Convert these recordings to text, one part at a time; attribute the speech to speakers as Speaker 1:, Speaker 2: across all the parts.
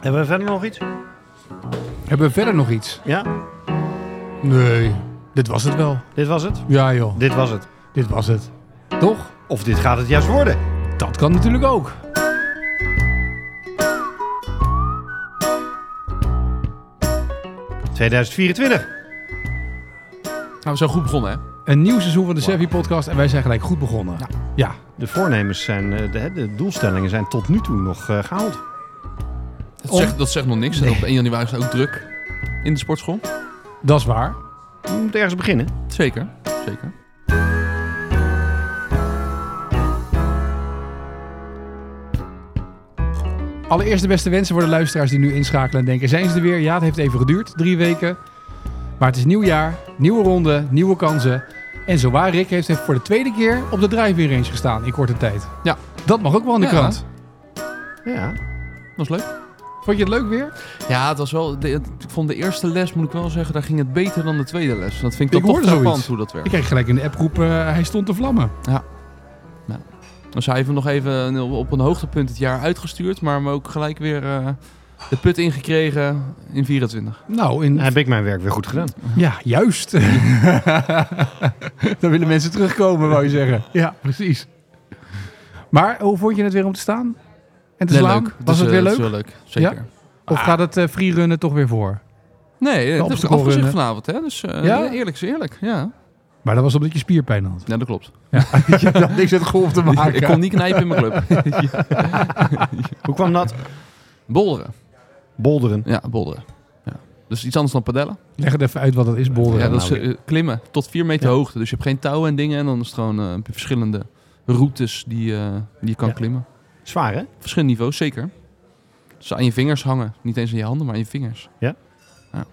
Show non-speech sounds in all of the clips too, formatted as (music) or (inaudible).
Speaker 1: Hebben we verder nog iets?
Speaker 2: Hebben we verder nog iets?
Speaker 1: Ja,
Speaker 2: Nee, dit was het wel.
Speaker 1: dit was het.
Speaker 2: Ja joh,
Speaker 1: Dit was het.
Speaker 2: dit was het. Toch?
Speaker 1: Of dit gaat het juist worden.
Speaker 2: Dat kan natuurlijk ook.
Speaker 1: ...2024.
Speaker 3: Nou, we zijn goed begonnen, hè?
Speaker 2: Een nieuw seizoen van de Savvy Podcast en wij zijn gelijk goed begonnen. Ja.
Speaker 1: De voornemens zijn... eh, De, de doelstellingen zijn tot nu toe nog eh, gehaald.
Speaker 3: Dat
Speaker 2: Om-
Speaker 3: zegt, dat zegt nog niks. En Op 1 januari is het ook druk in de sportschool.
Speaker 2: dat is waar.
Speaker 1: We moeten ergens beginnen.
Speaker 3: Zeker, zeker.
Speaker 2: Allereerst de beste wensen voor de luisteraars die nu inschakelen en denken: zijn ze er weer? Ja, het heeft even geduurd, drie weken. Maar het is nieuw jaar, nieuwe ronde, nieuwe kansen. En zowaar Rick heeft voor de tweede keer op de driving range gestaan in korte tijd.
Speaker 3: Ja.
Speaker 2: Dat mag ook wel in de
Speaker 3: Ja.
Speaker 2: krant.
Speaker 1: Ja.
Speaker 3: Dat was leuk.
Speaker 2: Vond je het leuk weer?
Speaker 3: Ja, het was wel... de- het- ik vond de eerste les, moet ik wel zeggen, daar ging het beter dan de tweede les. Dat vind ik,
Speaker 2: Ik
Speaker 3: dan toch
Speaker 2: hoorde
Speaker 3: frappant
Speaker 2: zoiets.
Speaker 3: hoe dat werkt.
Speaker 2: Ik kreeg gelijk in de appgroep, eh, hij stond te vlammen.
Speaker 3: Dus hij heeft hem nog even op een hoogtepunt het jaar uitgestuurd, maar hem ook gelijk weer eh, de put ingekregen in 24.
Speaker 2: Nou, in,
Speaker 1: Heb ik mijn werk weer goed gedaan.
Speaker 2: ja, juist. (laughs) Dan willen mensen terugkomen, wou je zeggen. Ja, precies. Maar hoe vond je het weer om te staan? En te
Speaker 3: Nee,
Speaker 2: slaan?
Speaker 3: leuk.
Speaker 2: Was
Speaker 3: is,
Speaker 2: het
Speaker 3: eh,
Speaker 2: weer
Speaker 3: dat is
Speaker 2: leuk?
Speaker 3: Zeker.
Speaker 2: Of gaat het eh, freerunnen toch weer voor?
Speaker 3: Nee, dat is
Speaker 2: obstacle
Speaker 3: afgezegd
Speaker 2: runnen.
Speaker 3: vanavond, hè? Dus eh,
Speaker 2: Ja?
Speaker 3: eerlijk is eerlijk. Ja.
Speaker 2: Maar dat was omdat je spierpijn (laughs) had.
Speaker 3: ja, dat (laughs) klopt.
Speaker 2: je had niks met golf te maken.
Speaker 3: Ik kon niet knijpen in mijn (laughs) club.
Speaker 1: Hoe kwam dat?
Speaker 3: Bolderen.
Speaker 1: Bolderen.
Speaker 3: Ja, bolderen. Ja. Dus iets anders dan padellen.
Speaker 2: Leg het even uit wat dat is, bolderen.
Speaker 3: Ja, dat is
Speaker 2: Nou,
Speaker 3: eh, klimmen tot 4 meter hoogte. Dus je hebt geen touwen en dingen. En dan is het gewoon eh, verschillende routes die, eh, die je kan
Speaker 1: Ja.
Speaker 3: klimmen.
Speaker 1: Zwaar, hè?
Speaker 3: Verschillende niveaus, zeker. Dus aan je vingers hangen. Niet eens aan je handen, maar aan je vingers.
Speaker 1: Ja.
Speaker 3: Ja.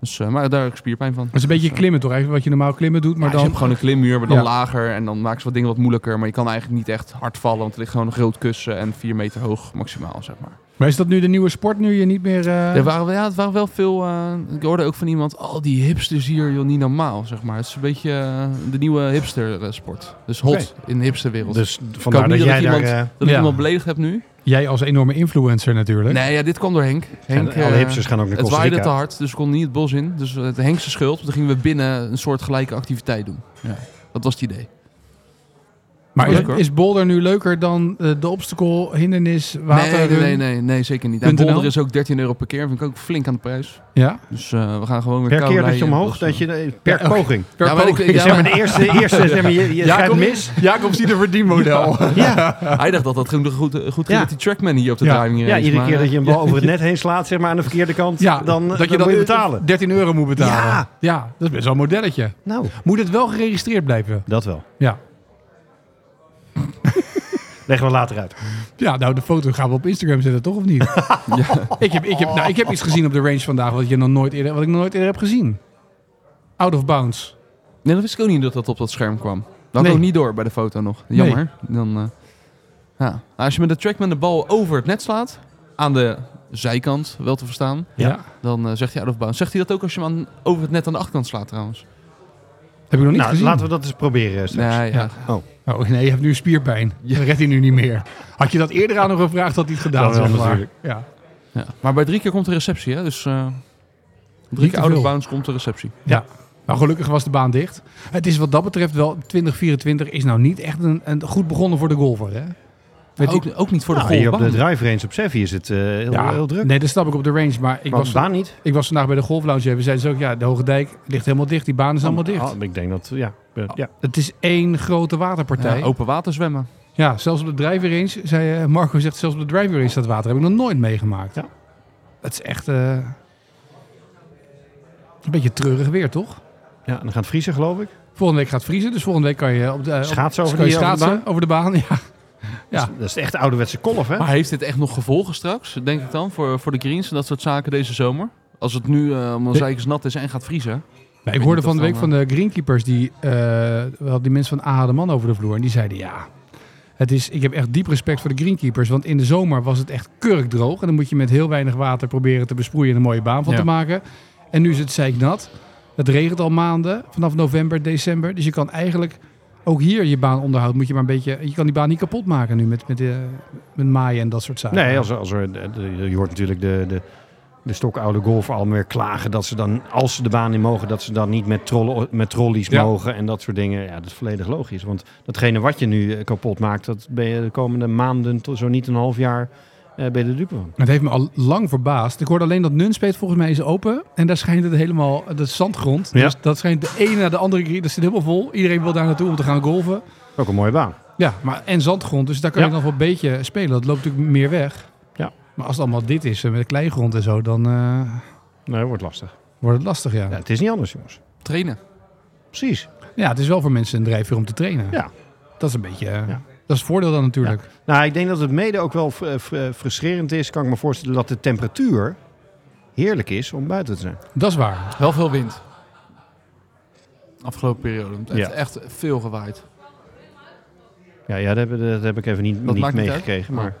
Speaker 3: Dus, eh, maar daar heb ik spierpijn van.
Speaker 2: dat is een beetje klimmen toch? Eigenlijk wat je normaal klimmen doet, maar
Speaker 3: Maar dan... dus je
Speaker 2: dan...
Speaker 3: hebt gewoon een klimmuur, maar dan
Speaker 2: Ja.
Speaker 3: lager. En dan maken ze wat dingen wat moeilijker. Maar je kan eigenlijk niet echt hard vallen. Want er ligt gewoon een groot kussen en 4 meter hoog maximaal, zeg maar.
Speaker 2: Maar is dat nu de nieuwe sport, nu je niet meer... eh,
Speaker 3: Er waren, wel- ja, het waren wel veel... eh, ik hoorde ook van iemand... Oh, die hipsters hier, joh, niet normaal, zeg maar. Het is een beetje eh, de nieuwe hipster-sport. Dus hot in de hipsterwereld.
Speaker 1: Dus vandaar dat
Speaker 3: niet dat
Speaker 1: jij daar...
Speaker 3: iemand-
Speaker 1: eh
Speaker 3: dat ik
Speaker 2: Ja.
Speaker 3: iemand beledigd heb nu.
Speaker 2: Jij als enorme influencer natuurlijk.
Speaker 3: Nee, ja, dit kwam door Henk.
Speaker 1: en
Speaker 3: Henk
Speaker 1: alle
Speaker 3: eh,
Speaker 1: hipsters gaan ook naar
Speaker 3: het
Speaker 1: Costa
Speaker 3: waaide te
Speaker 1: Rica.
Speaker 3: hard, dus we konden niet het bos in. Dus het Henkse schuld. Toen gingen we binnen een soort gelijke activiteit doen. Ja, dat was het idee.
Speaker 2: Maar
Speaker 3: Leuk,
Speaker 2: is,
Speaker 3: hoor.
Speaker 2: is boulder nu leuker dan eh, de obstacle, hindernis, water?
Speaker 3: nee, nee, nee,
Speaker 2: run?
Speaker 3: nee, nee, zeker niet. En
Speaker 2: .nl?
Speaker 3: Boulder is ook 13 euro per keer. Vind ik ook flink aan de prijs.
Speaker 2: Ja?
Speaker 3: Dus eh, we gaan gewoon weer
Speaker 1: Per
Speaker 3: koude
Speaker 1: keer dat je
Speaker 3: leien.
Speaker 1: omhoog,
Speaker 3: eh,
Speaker 1: dat je... eh, Per
Speaker 2: Ja, oké.
Speaker 1: poging.
Speaker 2: Per
Speaker 3: Ja, maar ik-
Speaker 1: (laughs)
Speaker 2: poging.
Speaker 3: ik- ja,
Speaker 1: zeg maar,
Speaker 3: maar-
Speaker 1: de eerste, eerste zeg maar, je, je schijnt mis.
Speaker 2: Jacob ziet een verdienmodel. (laughs)
Speaker 1: Ja,
Speaker 3: Hij dacht dat dat ging goed, eh, goed ging
Speaker 1: Ja.
Speaker 3: met die Trackman hier op de
Speaker 2: Ja.
Speaker 3: driving range.
Speaker 1: ja, iedere
Speaker 3: maar,
Speaker 1: keer
Speaker 3: eh,
Speaker 1: dat je een bal over het net heen slaat, zeg maar, aan de verkeerde kant,
Speaker 2: Ja,
Speaker 1: dan,
Speaker 2: dat
Speaker 1: dan
Speaker 2: je dan
Speaker 1: moet je betalen.
Speaker 2: 13 euro moet betalen.
Speaker 1: Ja.
Speaker 2: ja, dat is best wel een modelletje.
Speaker 1: Nou,
Speaker 2: Moet het wel geregistreerd blijven?
Speaker 1: dat wel.
Speaker 2: Ja.
Speaker 1: Leggen we later uit.
Speaker 2: Ja, nou, de foto gaan we op Instagram zetten, toch of
Speaker 1: (laughs)
Speaker 2: niet? ik, heb, ik, heb, nou, ik heb iets gezien op de range vandaag wat, je nog nooit eerder, wat ik nog nooit eerder heb gezien. Out of bounds.
Speaker 3: Nee, dat wist ik ook niet dat dat op dat scherm kwam. Dat had
Speaker 2: Nee.
Speaker 3: ik ook niet door bij de foto nog. Jammer. Dan, eh, ja. Nou, als je met de Trackman de bal over het net slaat, aan de zijkant wel te verstaan,
Speaker 1: Ja.
Speaker 3: dan eh, zegt hij out of bounds. Zegt hij dat ook als je hem aan, over het net aan de achterkant slaat trouwens?
Speaker 2: Heb ik nog niet
Speaker 1: Nou,
Speaker 2: gezien.
Speaker 1: laten we dat eens proberen eh,
Speaker 3: Nee,
Speaker 1: straks.
Speaker 3: ja.
Speaker 2: Ja.
Speaker 1: Oh,
Speaker 2: Oh nee, je hebt nu spierpijn. Je redt hij nu niet meer. Had je dat eerder aan hem gevraagd, had hij het gedaan.
Speaker 1: Dat wel
Speaker 2: zeg maar.
Speaker 1: natuurlijk.
Speaker 2: Ja.
Speaker 3: Ja. Maar bij drie keer komt de receptie, hè? Dus eh,
Speaker 2: Niet
Speaker 3: drie
Speaker 2: te
Speaker 3: keer out
Speaker 2: veel.
Speaker 3: of bounds komt de receptie.
Speaker 2: ja. Nou, gelukkig was de baan dicht. Het is wat dat betreft wel, 2024 is nou niet echt een, een goed begonnen voor de golfer. Hè? Met die-
Speaker 3: ook, ook niet voor de
Speaker 1: nou,
Speaker 3: nou,
Speaker 1: hier op de drive range op Sevi is het eh, heel,
Speaker 2: ja,
Speaker 1: heel druk.
Speaker 2: Nee, dat snap ik op de range. Maar ik
Speaker 1: maar
Speaker 2: was,
Speaker 1: was baan niet.
Speaker 2: ik was vandaag bij de golflounge en we zeiden ze ook, ja, de Hoge Dijk ligt helemaal dicht. Die baan is allemaal dicht. Oh.
Speaker 1: Ah, ik denk dat, ja. eh, ja.
Speaker 2: Het is één grote waterpartij. Ja,
Speaker 3: open water zwemmen.
Speaker 2: zelfs op de driver range, zei eh, Marco zegt, zelfs op de driver range staat water. Heb ik nog nooit meegemaakt.
Speaker 1: Ja.
Speaker 2: Het is echt eh, een beetje treurig weer, toch?
Speaker 1: ja, dan gaat het vriezen, geloof ik.
Speaker 2: Volgende week gaat het vriezen, dus volgende week kan je op de eh, op-
Speaker 1: Schaatsen over
Speaker 2: kan je
Speaker 1: die- over de
Speaker 2: schaatsen over de baan. Ja. Ja.
Speaker 1: Dat is echt ouderwetse kolf, hè?
Speaker 3: Maar heeft dit echt nog gevolgen straks, denk ik dan, voor, voor de greens en dat soort zaken deze zomer? Als het nu eh om een
Speaker 2: Ik-
Speaker 3: zeikens nat is en gaat vriezen.
Speaker 2: Maar
Speaker 3: weet
Speaker 2: ik hoorde
Speaker 3: niet of
Speaker 2: van de
Speaker 3: dan,
Speaker 2: week van de greenkeepers, die, eh, wel die mensen van AA de Man over de vloer. En die zeiden ja, het is, ik heb echt diep respect voor de greenkeepers. Want in de zomer was het echt kurkdroog. En dan moet je met heel weinig water proberen te besproeien en een mooie baan van
Speaker 3: Ja.
Speaker 2: te maken. En nu is het zeiknat. Het regent al maanden, vanaf november, december. Dus je kan eigenlijk ook hier je baan onderhoudt, moet je maar een beetje... Je kan die baan niet kapot maken nu met, met, eh, met maaien en dat soort zaken.
Speaker 1: Nee, als, er- als er, de- de- je hoort natuurlijk de, de, de stokoude golfer al meer klagen dat ze dan, als ze de baan in mogen, dat ze dan niet met, trollen, met trolleys
Speaker 2: Ja.
Speaker 1: mogen en dat soort dingen. Ja, dat is volledig logisch. Want datgene wat je nu eh, kapot maakt, dat ben je de komende maanden, tot zo niet een half jaar, eh ben je de dupe van.
Speaker 2: Het heeft me al lang verbaasd. Ik hoorde alleen dat Nunspeet volgens mij is open. En daar schijnt het helemaal, dat is zandgrond.
Speaker 1: Ja.
Speaker 2: Dus dat schijnt de ene na de andere keer, dat zit helemaal vol. Iedereen wil daar naartoe om te gaan golven.
Speaker 1: Ook een mooie baan.
Speaker 2: Ja, maar en zandgrond, dus daar kan
Speaker 1: Ja.
Speaker 2: je nog wel een beetje spelen. Dat loopt natuurlijk meer weg.
Speaker 1: Ja.
Speaker 2: Maar als het allemaal dit is, eh, met kleigrond en zo, dan eh,
Speaker 1: Nee, dat wordt lastig.
Speaker 2: wordt het lastig, ja.
Speaker 1: Ja,
Speaker 2: ja.
Speaker 1: het is niet anders, jongens.
Speaker 3: Trainen.
Speaker 1: Precies.
Speaker 2: het is wel voor mensen een drijfveer om te trainen.
Speaker 1: Ja.
Speaker 2: Dat is een beetje, eh,
Speaker 1: Ja.
Speaker 2: dat is het voordeel dan natuurlijk.
Speaker 1: Nou, ik denk dat het mede ook wel fr- fr- frustrerend is, kan ik me voorstellen, dat de temperatuur heerlijk is om buiten te zijn.
Speaker 2: Dat is waar.
Speaker 3: Wel veel wind. Afgelopen periode. Het heeft
Speaker 1: Ja.
Speaker 3: echt veel gewaaid.
Speaker 1: Ja, ja dat, heb, dat heb ik even niet,
Speaker 3: Dat
Speaker 1: niet
Speaker 3: maakt niet uit.
Speaker 1: meegekregen. Maar...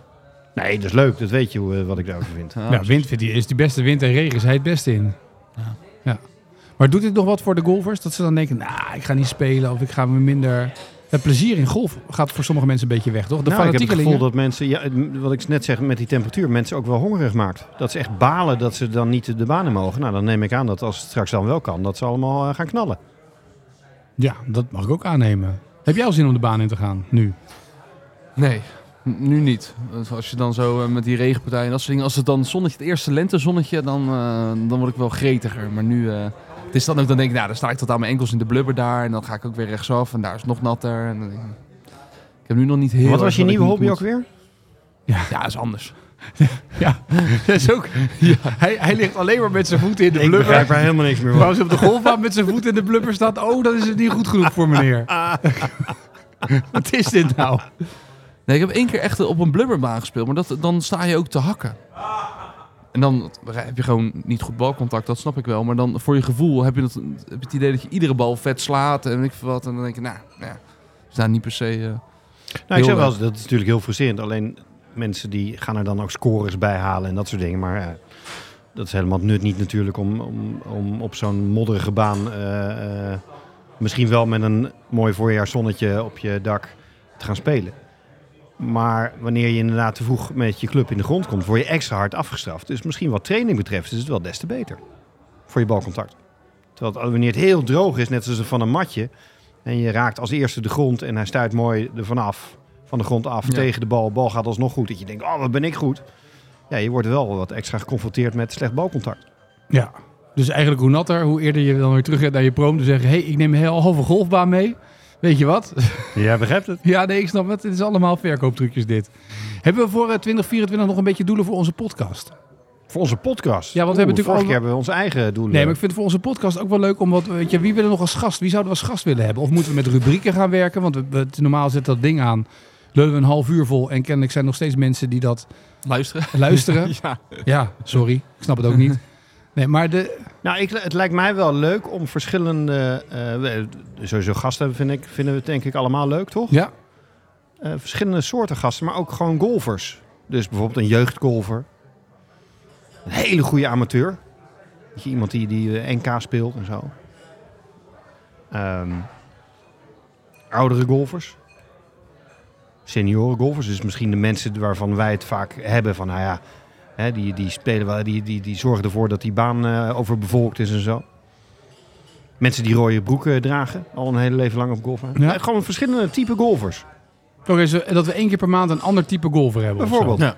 Speaker 1: Nee, dat is leuk. Dat weet je hoe, eh, wat ik daarover (laughs) vind.
Speaker 3: Ja.
Speaker 2: Ja, wind vindt hij, is die beste wind en regen is hij het beste in. Ja.
Speaker 3: Ja.
Speaker 2: Maar doet dit nog wat voor de golfers? Dat ze dan denken, nou, ik ga niet spelen of ik ga me minder... Het plezier in golf gaat voor sommige mensen een beetje weg, toch? De
Speaker 1: nou, ik heb het
Speaker 2: fanatiekelingen.
Speaker 1: gevoel dat mensen, ja, het- wat ik net zeg met die temperatuur, mensen ook wel hongerig maakt. Dat ze echt balen dat ze dan niet de banen mogen. Nou, dan neem ik aan dat als het straks dan wel kan, dat ze allemaal eh, gaan knallen.
Speaker 2: Ja, dat mag ik ook aannemen. Heb jij al zin om de baan in te gaan, nu?
Speaker 3: Nee, n- nu niet. Want Als je dan zo eh, met die regenpartijen en dat soort dingen... Als het dan zonnetje, het eerste lentezonnetje, dan, eh, dan word ik wel gretiger. Maar nu... eh, het is dan ook, dan denk ik, nou, dan sta ik tot aan mijn enkels in de blubber daar. En dan ga ik ook weer rechtsaf en daar is het nog natter. En dan denk ik, ik heb nu nog niet heel...
Speaker 1: wat
Speaker 3: erg
Speaker 1: was je
Speaker 3: dat ik
Speaker 1: nieuwe
Speaker 3: niet
Speaker 1: hobby
Speaker 3: moet.
Speaker 1: ook weer?
Speaker 3: Ja, dat is anders.
Speaker 1: (laughs)
Speaker 2: Ja, dat is ook... Hij, hij ligt alleen maar met zijn voeten in de blubber.
Speaker 1: er helemaal niks meer
Speaker 2: Maar als hij op de golfbaan met zijn voeten in de blubber staat... Oh, dan is het niet goed genoeg
Speaker 1: (laughs)
Speaker 2: voor meneer. Wat is dit nou?
Speaker 3: Nee, ik heb één keer echt op een blubberbaan gespeeld, maar dat, dan sta je ook te hakken. En dan heb je gewoon niet goed balcontact, dat snap ik wel. Maar dan voor je gevoel heb je, dat, heb je het idee dat je iedere bal vet slaat en weet ik veel wat. En dan denk je, nou, ja, is daar niet per se... eh,
Speaker 1: Nou, ik
Speaker 3: Heel
Speaker 1: zeg wel, eens, dat is natuurlijk heel frustrerend. Alleen mensen die gaan er dan ook scores bij halen en dat soort dingen. Maar eh, dat is helemaal het nut niet natuurlijk om, om, om op zo'n modderige baan... eh, eh, misschien wel met een mooi voorjaarszonnetje op je dak te gaan spelen. Maar wanneer je inderdaad te vroeg met je club in de grond komt... word je extra hard afgestraft. Dus misschien wat training betreft is het wel des te beter. Voor je balcontact. Terwijl het- wanneer het heel droog is, net zoals van een matje... en je raakt als eerste de grond en hij stuit mooi ervan af... van de grond af
Speaker 3: Ja.
Speaker 1: tegen de bal. Bal gaat alsnog goed. Dat je denkt, oh, wat ben ik goed. Ja, je wordt wel wat extra geconfronteerd met slecht balcontact.
Speaker 2: Ja. Dus eigenlijk hoe natter, hoe eerder je dan weer terug gaat naar je proom... te zeggen, hé, hey, ik neem een heel halve golfbaan mee. Weet je wat? (laughs)
Speaker 1: Jij begrijpt het.
Speaker 2: ja, nee, ik snap het. Het is allemaal verkooptrucjes dit. Hebben we voor eh, 2024 nog een beetje doelen voor onze podcast?
Speaker 1: Voor onze podcast.
Speaker 2: Ja, want we hebben natuurlijk
Speaker 1: vorige
Speaker 2: al-
Speaker 1: keer hebben we onze eigen doelen.
Speaker 2: Nee, maar ik vind het voor onze podcast ook wel leuk om wat... Weet je, wie willen we nog als gast? Wie zouden we als gast willen hebben? Of moeten we met rubrieken gaan werken? Want we, we- het- normaal zit dat ding aan... Lullen we een half uur vol en kennelijk zijn er nog steeds mensen die dat
Speaker 3: luisteren.
Speaker 2: luisteren.
Speaker 3: ja.
Speaker 2: ja, sorry. Ik snap het ook niet. Nee, maar de...
Speaker 1: Nou, ik, het lijkt mij wel leuk om verschillende... eh, we- sowieso gasten vind ik, vinden we het denk ik allemaal leuk, toch?
Speaker 2: Ja,
Speaker 1: Eh, verschillende soorten gasten, maar ook gewoon golfers. Dus bijvoorbeeld een jeugdgolfer. Een hele goede amateur. Weet je, iemand die, die eh, NK speelt en zo. Ehm, oudere golfers. Senioren golfers. Dus misschien de mensen waarvan wij het vaak hebben van, nou ja... Hè, die, die, spelen wel, die, die, die zorgen ervoor dat die baan eh, overbevolkt is en zo. Mensen die rode broeken dragen, al een hele leven lang op golf. Eh,
Speaker 2: Ja.
Speaker 1: gewoon verschillende type golfers.
Speaker 2: Oké, zo- dat we één keer per maand een ander type golfer hebben. of zo.
Speaker 1: Bijvoorbeeld.
Speaker 3: (laughs)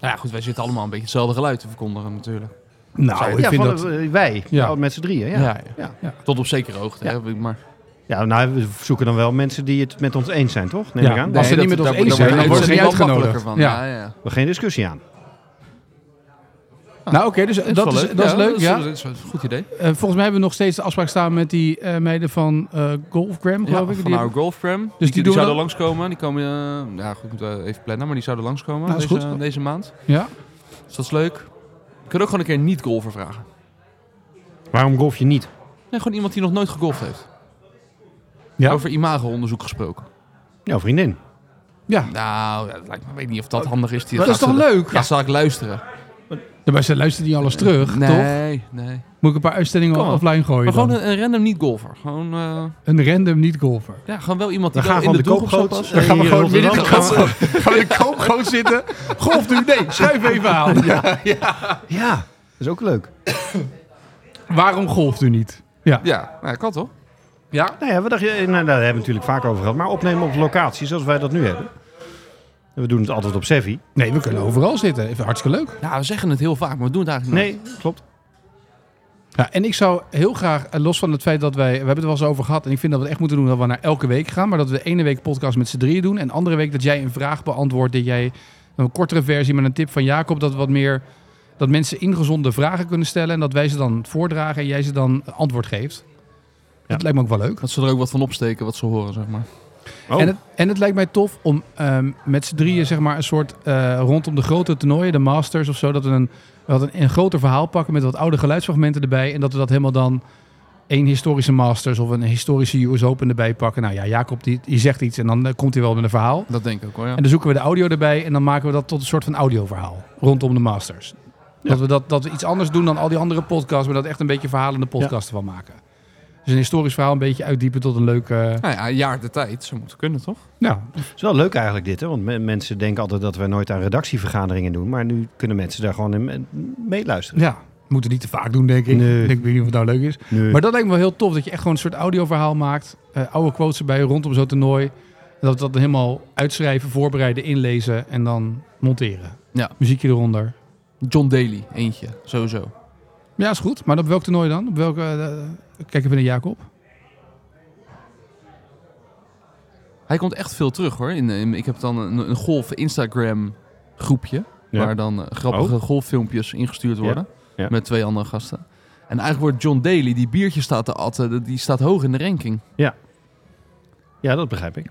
Speaker 3: Nou ja, goed, wij zitten allemaal een beetje hetzelfde geluid te verkondigen natuurlijk.
Speaker 2: Nou, ik
Speaker 1: ja,
Speaker 2: vind
Speaker 1: van,
Speaker 2: dat...
Speaker 1: eh, Wij,
Speaker 2: Ja.
Speaker 1: nou, met z'n drieën. Ja. Ja.
Speaker 3: Tot op zekere hoogte,
Speaker 1: Ja.
Speaker 3: hè, maar...
Speaker 1: nou, we zoeken dan wel mensen die het met ons eens zijn, toch? Neem
Speaker 2: Ja.
Speaker 1: ik aan.
Speaker 2: Nee. Als ze het niet met ons eens zijn,
Speaker 1: dan worden ze
Speaker 2: niet uitgenodigd.
Speaker 3: Van.
Speaker 2: Ja.
Speaker 3: Ja, ja.
Speaker 1: We geen discussie aan.
Speaker 2: Nou, oké, dus dat, is, dat is leuk. Ja.
Speaker 3: Dat is dat is een goed idee.
Speaker 2: Eh, volgens mij hebben we nog steeds de afspraak staan met die eh, meiden van eh Golfgram,
Speaker 3: Ja,
Speaker 2: geloof ik.
Speaker 3: van
Speaker 2: Die
Speaker 3: Our Golf Pram. Dus
Speaker 2: die
Speaker 3: die,
Speaker 2: doen
Speaker 3: die zouden
Speaker 2: dan-
Speaker 3: langskomen. Die komen, eh, ja goed, moeten we even plannen, maar die zouden langskomen
Speaker 2: Nou, is
Speaker 3: deze,
Speaker 2: goed.
Speaker 3: deze maand.
Speaker 2: hebben- Ja?
Speaker 3: Dus dat is leuk. We kunnen ook gewoon een keer niet golfer vragen.
Speaker 1: Waarom golf je niet?
Speaker 3: Nee, gewoon iemand die nog nooit gegolfd heeft.
Speaker 2: Ja.
Speaker 3: Over imago-onderzoek gesproken.
Speaker 1: Jouw vriendin.
Speaker 2: ja.
Speaker 3: Nou, ja, dat lijkt me, ik weet niet of dat handig is. Die
Speaker 2: Oh, Dat is
Speaker 3: gaat
Speaker 2: toch
Speaker 3: ze-
Speaker 2: leuk?
Speaker 3: Ja, zal ik luisteren.
Speaker 2: Daarbij ze luistert niet alles terug, toch?
Speaker 3: nee, nee.
Speaker 2: Moet ik een paar uitstellingen
Speaker 3: Kom maar.
Speaker 2: offline gooien
Speaker 3: Maar gewoon
Speaker 2: dan?
Speaker 3: een, een random niet-golfer. Gewoon, eh,
Speaker 2: Een, random niet-golfer.
Speaker 3: ja, gewoon wel iemand die
Speaker 1: Dan gaan we
Speaker 3: wel in
Speaker 1: van
Speaker 3: de,
Speaker 1: de
Speaker 3: doelgroep
Speaker 1: koopgoot.
Speaker 3: past.
Speaker 1: Dan gaan we
Speaker 2: Hier
Speaker 1: gewoon
Speaker 2: in
Speaker 1: midden
Speaker 2: Rotterdam (laughs)
Speaker 1: gaan we-
Speaker 2: Gaan we de koop (laughs) gewoon zitten? Golf nu? Nee, schuif even (laughs) aan.
Speaker 1: Ja, dat is ook leuk.
Speaker 2: Waarom golft u niet? Ja.
Speaker 3: Ja, nou, kan toch?
Speaker 2: Ja?
Speaker 1: Nou ja, we dachten, eh, nou, daar hebben we het natuurlijk vaak over gehad. Maar opnemen op locatie, zoals wij dat nu hebben. We doen het altijd op Sevi.
Speaker 2: Nee, we kunnen overal zitten. Even hartstikke leuk.
Speaker 3: Ja, we zeggen het heel vaak, maar we doen het eigenlijk nooit.
Speaker 1: Nee, klopt.
Speaker 2: Ja, en ik zou heel graag, eh, los van het feit dat wij, we hebben het er wel eens over gehad, en ik vind dat we het echt moeten doen dat we naar elke week gaan, maar dat we de ene week podcast met z'n drieën doen en de andere week dat jij een vraag beantwoordt, dat jij een kortere versie met een tip van Jacob, dat we wat meer, dat mensen ingezonde vragen kunnen stellen en dat wij ze dan voordragen en jij ze dan antwoord geeft. Dat lijkt me ook wel leuk.
Speaker 3: Dat ze er ook wat van opsteken wat ze horen, zeg maar.
Speaker 1: Oh.
Speaker 2: En, het, en het lijkt mij tof om ehm, met z'n drieën zeg maar, een soort eh, rondom de grote toernooien, de Masters of zo, dat we een, wat een, een groter verhaal pakken met wat oude geluidsfragmenten erbij. En dat we dat helemaal dan één historische Masters of een historische US Open erbij pakken. Nou ja, Jacob die, die zegt iets en dan eh, komt hij wel met een verhaal.
Speaker 3: Dat denk ik ook hoor, ja.
Speaker 2: En dan zoeken we de audio erbij en dan maken we dat tot een soort van audioverhaal rondom de Masters. Dat, we dat, dat we iets anders doen dan al die andere podcasts, maar dat echt een beetje verhalende podcasten van maken. Dus een historisch verhaal een beetje uitdiepen tot een leuke...
Speaker 3: Nou ja, een jaar de tijd. Ze moeten kunnen, toch?
Speaker 2: ja,
Speaker 1: Het is wel leuk eigenlijk dit, hè? want me- mensen denken altijd dat wij nooit aan redactievergaderingen doen. Maar nu kunnen mensen daar gewoon in in meeluisteren.
Speaker 2: Ja, moeten niet te vaak doen, denk ik.
Speaker 1: Nee.
Speaker 2: Ik weet niet of het nou leuk is.
Speaker 1: Nu.
Speaker 2: Maar dat lijkt me wel heel tof, dat je echt gewoon een soort audioverhaal maakt. eh, oude quotes erbij rondom zo'n toernooi. En dat we dat dan helemaal uitschrijven, voorbereiden, inlezen en dan monteren.
Speaker 3: Ja.
Speaker 2: Muziekje eronder.
Speaker 3: John Daly, eentje, sowieso.
Speaker 2: Ja, is goed. Maar op welk toernooi dan? Op welke, eh, kijk even naar Jacob.
Speaker 3: Hij komt echt veel terug hoor. In, in- ik heb dan een, een golf Instagram groepje.
Speaker 1: Ja. Oh.
Speaker 3: Waar dan eh, grappige golffilmpjes ingestuurd worden.
Speaker 1: Ja. Ja.
Speaker 3: Met twee andere gasten. En eigenlijk wordt John Daly, die biertje staat te atten, die- die staat hoog in de ranking.
Speaker 1: Ja, dat begrijp ik.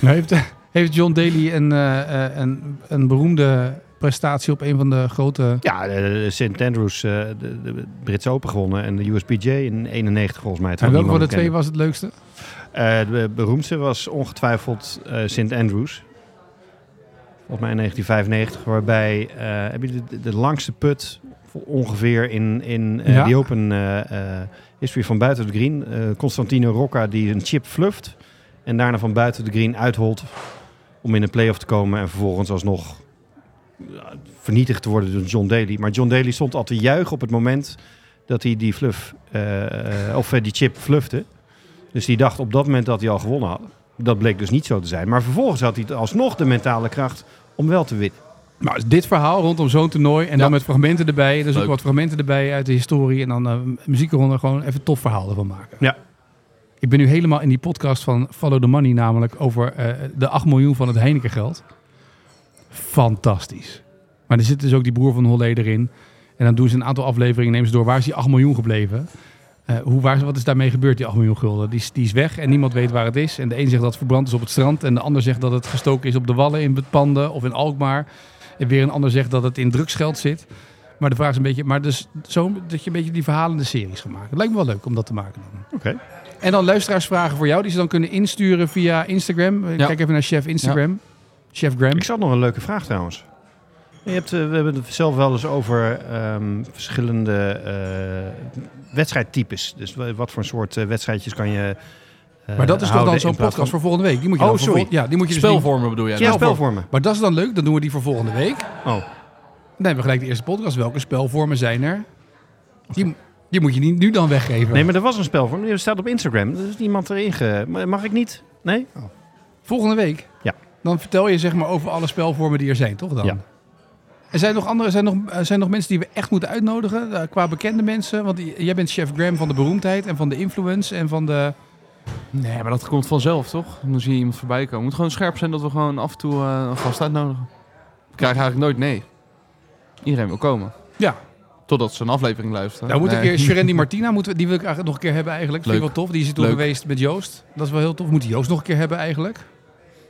Speaker 2: Nou, heeft, (laughs) heeft John Daly een, eh, eh, een, een beroemde prestatie op een van de grote...
Speaker 1: Ja, eh, St. Andrews, eh, de, de Britse Open gewonnen en de USPJ in 91 volgens mij.
Speaker 2: En
Speaker 1: Terwijl
Speaker 2: welke van de
Speaker 1: niemand
Speaker 2: twee
Speaker 1: hem
Speaker 2: was het leukste?
Speaker 1: kende. Eh, de beroemdste was ongetwijfeld eh St. Andrews. Volgens mij in 1995, waarbij eh heb je de, de langste put ongeveer in, in eh,
Speaker 2: Ja.
Speaker 1: die Open eh, eh, is weer van buiten de green. Eh, Constantino Rocca die een chip fluft en daarna van buiten de green uitholt om in een play-off te komen en vervolgens alsnog ja, vernietigd te worden door John Daly. Maar John Daly stond al te juichen op het moment dat hij die fluff eh, eh, of eh, die chip flufte. Dus die dacht op dat moment dat hij al gewonnen had. Dat bleek dus niet zo te zijn. Maar vervolgens had hij alsnog de mentale kracht om wel te winnen.
Speaker 2: Nou, dus dit verhaal rondom zo'n toernooi en
Speaker 3: Ja.
Speaker 2: dan met fragmenten erbij. Dus ook
Speaker 3: Leuk.
Speaker 2: wat fragmenten erbij uit de historie en dan eh, muziek eronder. Gewoon even een tof verhaal ervan maken.
Speaker 1: Ja.
Speaker 2: Ik ben nu helemaal in die podcast van Follow the Money namelijk over eh, de 8 miljoen van het Heineken geld. Fantastisch. Maar er zit dus ook die broer van Holleder in. En dan doen ze een aantal afleveringen, nemen ze door. Waar is die 8 miljoen gebleven? Eh, hoe, waar, is- wat is daarmee gebeurd, die 8 miljoen gulden? Die, is- die is weg en niemand weet waar het is. En de een zegt dat het verbrand is op het strand. En de ander zegt dat het gestoken is op de wallen in Panden of in Alkmaar. En weer een ander zegt dat het in drugsgeld zit. Maar de vraag is een beetje... Maar dus zo dat je een beetje die verhalende series gaat maken. Het lijkt me wel leuk om dat te maken dan.
Speaker 1: Oké.
Speaker 2: En dan luisteraarsvragen voor jou, die ze dan kunnen insturen via Instagram. Eh,
Speaker 3: Ja.
Speaker 2: Kijk even naar Chef Instagram. Chef Gram.
Speaker 1: Ik zat nog een leuke vraag trouwens. Je hebt, eh, we hebben het zelf wel eens over ehm, verschillende eh, wedstrijdtypes. Dus wa- wat voor soort eh, wedstrijdjes kan je. eh,
Speaker 2: Maar dat is toch
Speaker 1: houden
Speaker 2: dan
Speaker 1: in plaats
Speaker 2: zo'n
Speaker 1: van-
Speaker 2: podcast voor volgende week? Die moet je
Speaker 1: Oh,
Speaker 2: dan voor
Speaker 1: sorry.
Speaker 2: vol- ja, die moet je dus niet-
Speaker 3: Spelvormen bedoel jij?
Speaker 1: Ja,
Speaker 3: dan?
Speaker 1: spelvormen.
Speaker 2: Maar dat is dan leuk, dan doen we die voor volgende week.
Speaker 1: Oh.
Speaker 2: Dan hebben we gelijk de eerste podcast. Welke spelvormen zijn er? Die, die moet je niet nu dan weggeven.
Speaker 1: Nee, maar er was een spelvorm. Die staat op Instagram. Er is niemand erin ge... Maar Mag ik niet? Nee?
Speaker 2: Volgende week?
Speaker 1: Ja.
Speaker 2: Dan vertel je zeg maar over alle spelvormen die er zijn, toch dan?
Speaker 1: Ja.
Speaker 2: Er zijn nog, andere, zijn, nog, eh, zijn nog mensen die we echt moeten uitnodigen, eh, qua bekende mensen. Want j- jij bent chef Graham van de beroemdheid en van de influence en van de...
Speaker 3: Nee, maar dat komt vanzelf, toch? Dan zie je iemand voorbij komen. Het moet gewoon scherp zijn dat we gewoon af en toe eh, een gast uitnodigen. We krijgen eigenlijk nooit nee. Iedereen wil komen.
Speaker 2: Ja.
Speaker 3: Totdat ze een aflevering luisteren.
Speaker 2: Nou, moet
Speaker 3: nee.
Speaker 2: een keer Sherendi Martina, moeten we, die wil ik eigenlijk nog een keer hebben eigenlijk. Dat vind ik wel tof. Die is er toen
Speaker 3: Leuk.
Speaker 2: geweest met Joost. Dat is wel heel tof. Moet Joost nog een keer hebben eigenlijk.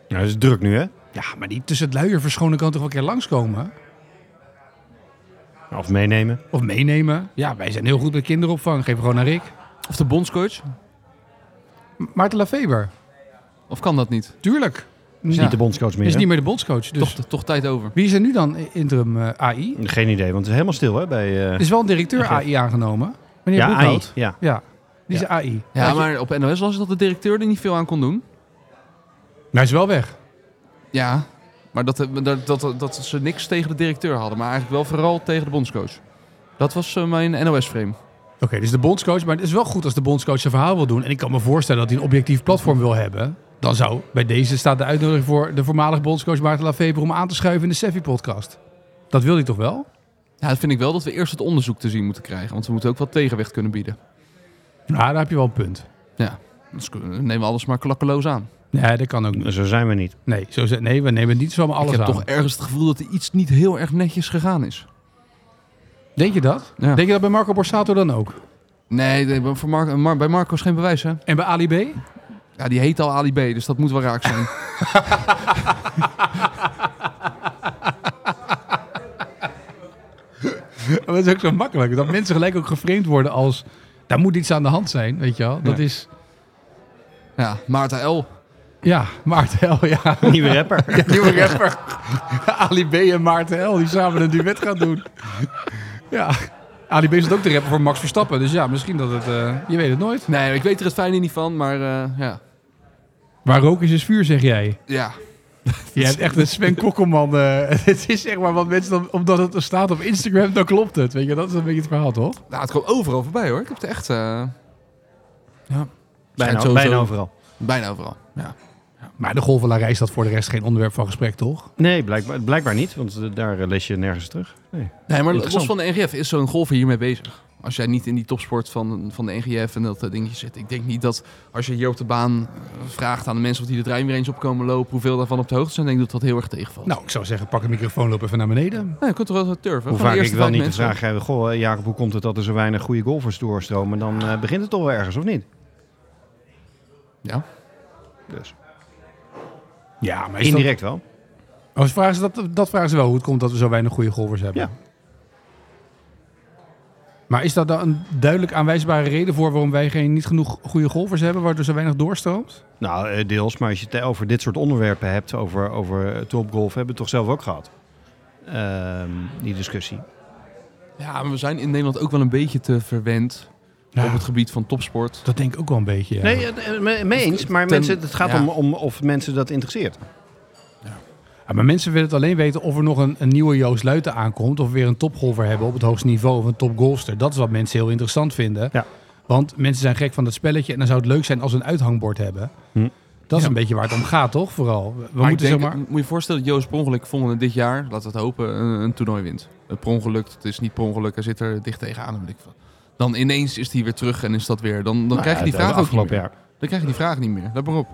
Speaker 1: Nou, dat is druk nu, hè?
Speaker 2: Ja, maar die tussen het luier verschonen kan toch wel een keer langskomen?
Speaker 1: Of meenemen.
Speaker 2: Of meenemen? Ja, wij zijn heel goed met kinderopvang. Geef gewoon naar Rick.
Speaker 3: Of de bondscoach?
Speaker 2: M- Maarten Lafeber,
Speaker 3: Of kan dat niet?
Speaker 2: tuurlijk.
Speaker 1: is
Speaker 3: Ja.
Speaker 1: niet de bondscoach meer.
Speaker 2: Is
Speaker 1: hè?
Speaker 2: niet meer de bondscoach. Dus
Speaker 3: Toch, toch tijd over.
Speaker 2: wie is er nu dan interim eh, AI?
Speaker 1: Geen idee, want het is helemaal stil hè, bij... eh
Speaker 2: Er is wel een directeur
Speaker 1: Oké.
Speaker 2: AI aangenomen. Meneer
Speaker 1: ja, AI,
Speaker 2: Broekhout.
Speaker 1: ja.
Speaker 2: Ja, die is
Speaker 1: Ja.
Speaker 2: AI.
Speaker 3: Ja, maar op NOS was het dat de directeur er niet veel aan kon doen.
Speaker 2: Maar hij is wel weg.
Speaker 3: Ja, maar dat, dat, dat, dat ze niks tegen de directeur hadden. Maar eigenlijk wel vooral tegen de bondscoach. Dat was eh, mijn NOS-frame.
Speaker 2: Oké, dus de bondscoach. Maar het is wel goed als de bondscoach zijn verhaal wil doen. En ik kan me voorstellen dat hij een objectief platform wil hebben. Dan zou bij deze staat de uitnodiging voor de voormalige bondscoach Maarten Lafeber om aan te schuiven in de Seffi-podcast. Dat wil hij toch wel?
Speaker 3: Ja, dat vind ik wel dat we eerst het onderzoek te zien moeten krijgen. Want we moeten ook wat tegenwicht kunnen bieden.
Speaker 2: Nou, daar heb je wel een punt.
Speaker 3: Dus eh, nemen we alles maar klakkeloos aan.
Speaker 2: Nee, dat kan ook niet.
Speaker 1: Zo zijn we niet. (laughs)
Speaker 2: Nee, zo, ze- nee we nemen niet zomaar alles
Speaker 3: ik heb
Speaker 2: aan.
Speaker 3: toch ergens het gevoel dat er iets niet heel erg netjes gegaan is.
Speaker 2: Denk je dat?
Speaker 3: Ja.
Speaker 2: Denk je dat bij Marco Borsato dan ook?
Speaker 3: Nee, nee, voor Mar- Mar- bij Marco is geen bewijs, hè?
Speaker 2: En bij Ali B?
Speaker 3: Ja, die heet al Ali B, dus dat moet wel raak zijn.
Speaker 2: Maar (laughs) Dat is ook zo makkelijk. Dat mensen gelijk ook geframed worden als... Daar moet iets aan de hand zijn, weet je wel. Dat
Speaker 3: Ja.
Speaker 2: is...
Speaker 3: ja, Maarten L.
Speaker 2: Ja, Maarten (laughs) L, ja.
Speaker 1: Nieuwe rapper.
Speaker 2: Ja, nieuwe
Speaker 3: (laughs)
Speaker 2: rapper. (laughs) Ali B en Maarten L, die samen een duet gaan doen. Ja. Ali B is ook de rapper voor Max Verstappen. Dus ja, misschien dat het... eh, je weet het nooit.
Speaker 3: Nee, ik weet er het fijne niet van, maar eh, ja.
Speaker 2: Waar rook is, is vuur, zeg jij.
Speaker 3: Ja.
Speaker 2: Je hebt echt een Sven Kokkelman. eh, (laughs) het is zeg maar wat mensen... Dan, omdat het er staat op Instagram, dan klopt het. Weet je, dat is een beetje het verhaal, toch?
Speaker 3: Nou, het komt overal voorbij, hoor. Ik heb het echt... eh,
Speaker 1: Bijna,
Speaker 3: sowieso-
Speaker 1: bijna overal.
Speaker 3: Bijna overal. Ja.
Speaker 2: Maar de golfwalarij is dat voor de rest geen onderwerp van gesprek, toch?
Speaker 1: Nee, blijkbaar, blijkbaar niet, want eh, daar eh, lees je nergens terug. Nee.
Speaker 3: Nee, maar los
Speaker 1: Interessant.
Speaker 3: van de NGF is zo'n golfer hiermee bezig. Als jij niet in die topsport van, van de NGF en dat eh, dingetje zit. Ik denk niet dat als je hier op de baan eh, vraagt aan de mensen of die de trein weer eens op komen lopen, hoeveel daarvan op de hoogte zijn, denk ik dat dat heel erg tegenvalt.
Speaker 2: Nou, ik zou zeggen, pak de microfoon, loop even naar beneden.
Speaker 3: Nou, je kunt toch wel wat turven.
Speaker 1: Hoe
Speaker 3: Gewoon
Speaker 1: vaak
Speaker 3: de
Speaker 1: ik
Speaker 3: eerste
Speaker 1: wel
Speaker 3: vijf
Speaker 1: niet de
Speaker 3: mensen.
Speaker 1: vraag krijg, goh eh, Jacob, hoe komt het dat er zo weinig goede golfers doorstromen? Dan eh, begint het toch wel ergens, of niet?
Speaker 3: Ja.
Speaker 1: Dus,
Speaker 2: Ja, maar is dat-
Speaker 1: indirect wel.
Speaker 2: Oh, ze vragen ze dat, dat vragen ze wel, hoe het komt dat we zo weinig goede golfers hebben.
Speaker 1: Ja.
Speaker 2: Maar is dat dan een duidelijk aanwijzbare reden voor waarom wij geen, niet genoeg goede golfers hebben, waardoor zo weinig doorstroomt?
Speaker 1: Nou, eh, deels, maar als je het over dit soort onderwerpen hebt, over, over eh, topgolf, hebben we het toch zelf ook gehad. Ehm, die discussie.
Speaker 3: ja, maar we zijn in Nederland ook wel een beetje te verwend op het gebied van topsport.
Speaker 2: dat denk ik ook wel een beetje. ja.
Speaker 1: Nee, eh, eh, me- mee eens, maar
Speaker 3: Ten-
Speaker 1: mensen, het gaat
Speaker 3: ja.
Speaker 1: om, om of mensen dat interesseert.
Speaker 2: Ja, maar mensen willen het alleen weten of er nog een, een nieuwe Joost Luiten aankomt. Of we weer een topgolfer hebben op het hoogste niveau. Of een topgolfster. Dat is wat mensen heel interessant vinden.
Speaker 1: Ja.
Speaker 2: Want mensen zijn gek van dat spelletje. En dan zou het leuk zijn als we een uithangbord hebben.
Speaker 1: Hm.
Speaker 2: Dat is
Speaker 3: Ja.
Speaker 2: een beetje waar het om gaat, toch? Vooral. We
Speaker 3: Maar ik
Speaker 2: moeten
Speaker 3: denk-
Speaker 2: zeg maar...
Speaker 3: Moet je voorstellen dat Joost per ongeluk volgende dit jaar, laten we het hopen, een, een toernooi wint. Het per ongeluk, het is niet per ongeluk, hij zit er dicht tegenaan. en Weet ik veel. Dan ineens is hij weer terug en is dat weer. Dan, dan krijg je die vraag ook niet
Speaker 1: Nou eh, afgelopen
Speaker 3: meer.
Speaker 1: jaar.
Speaker 3: Dan krijg je die vraag niet meer. Let maar op.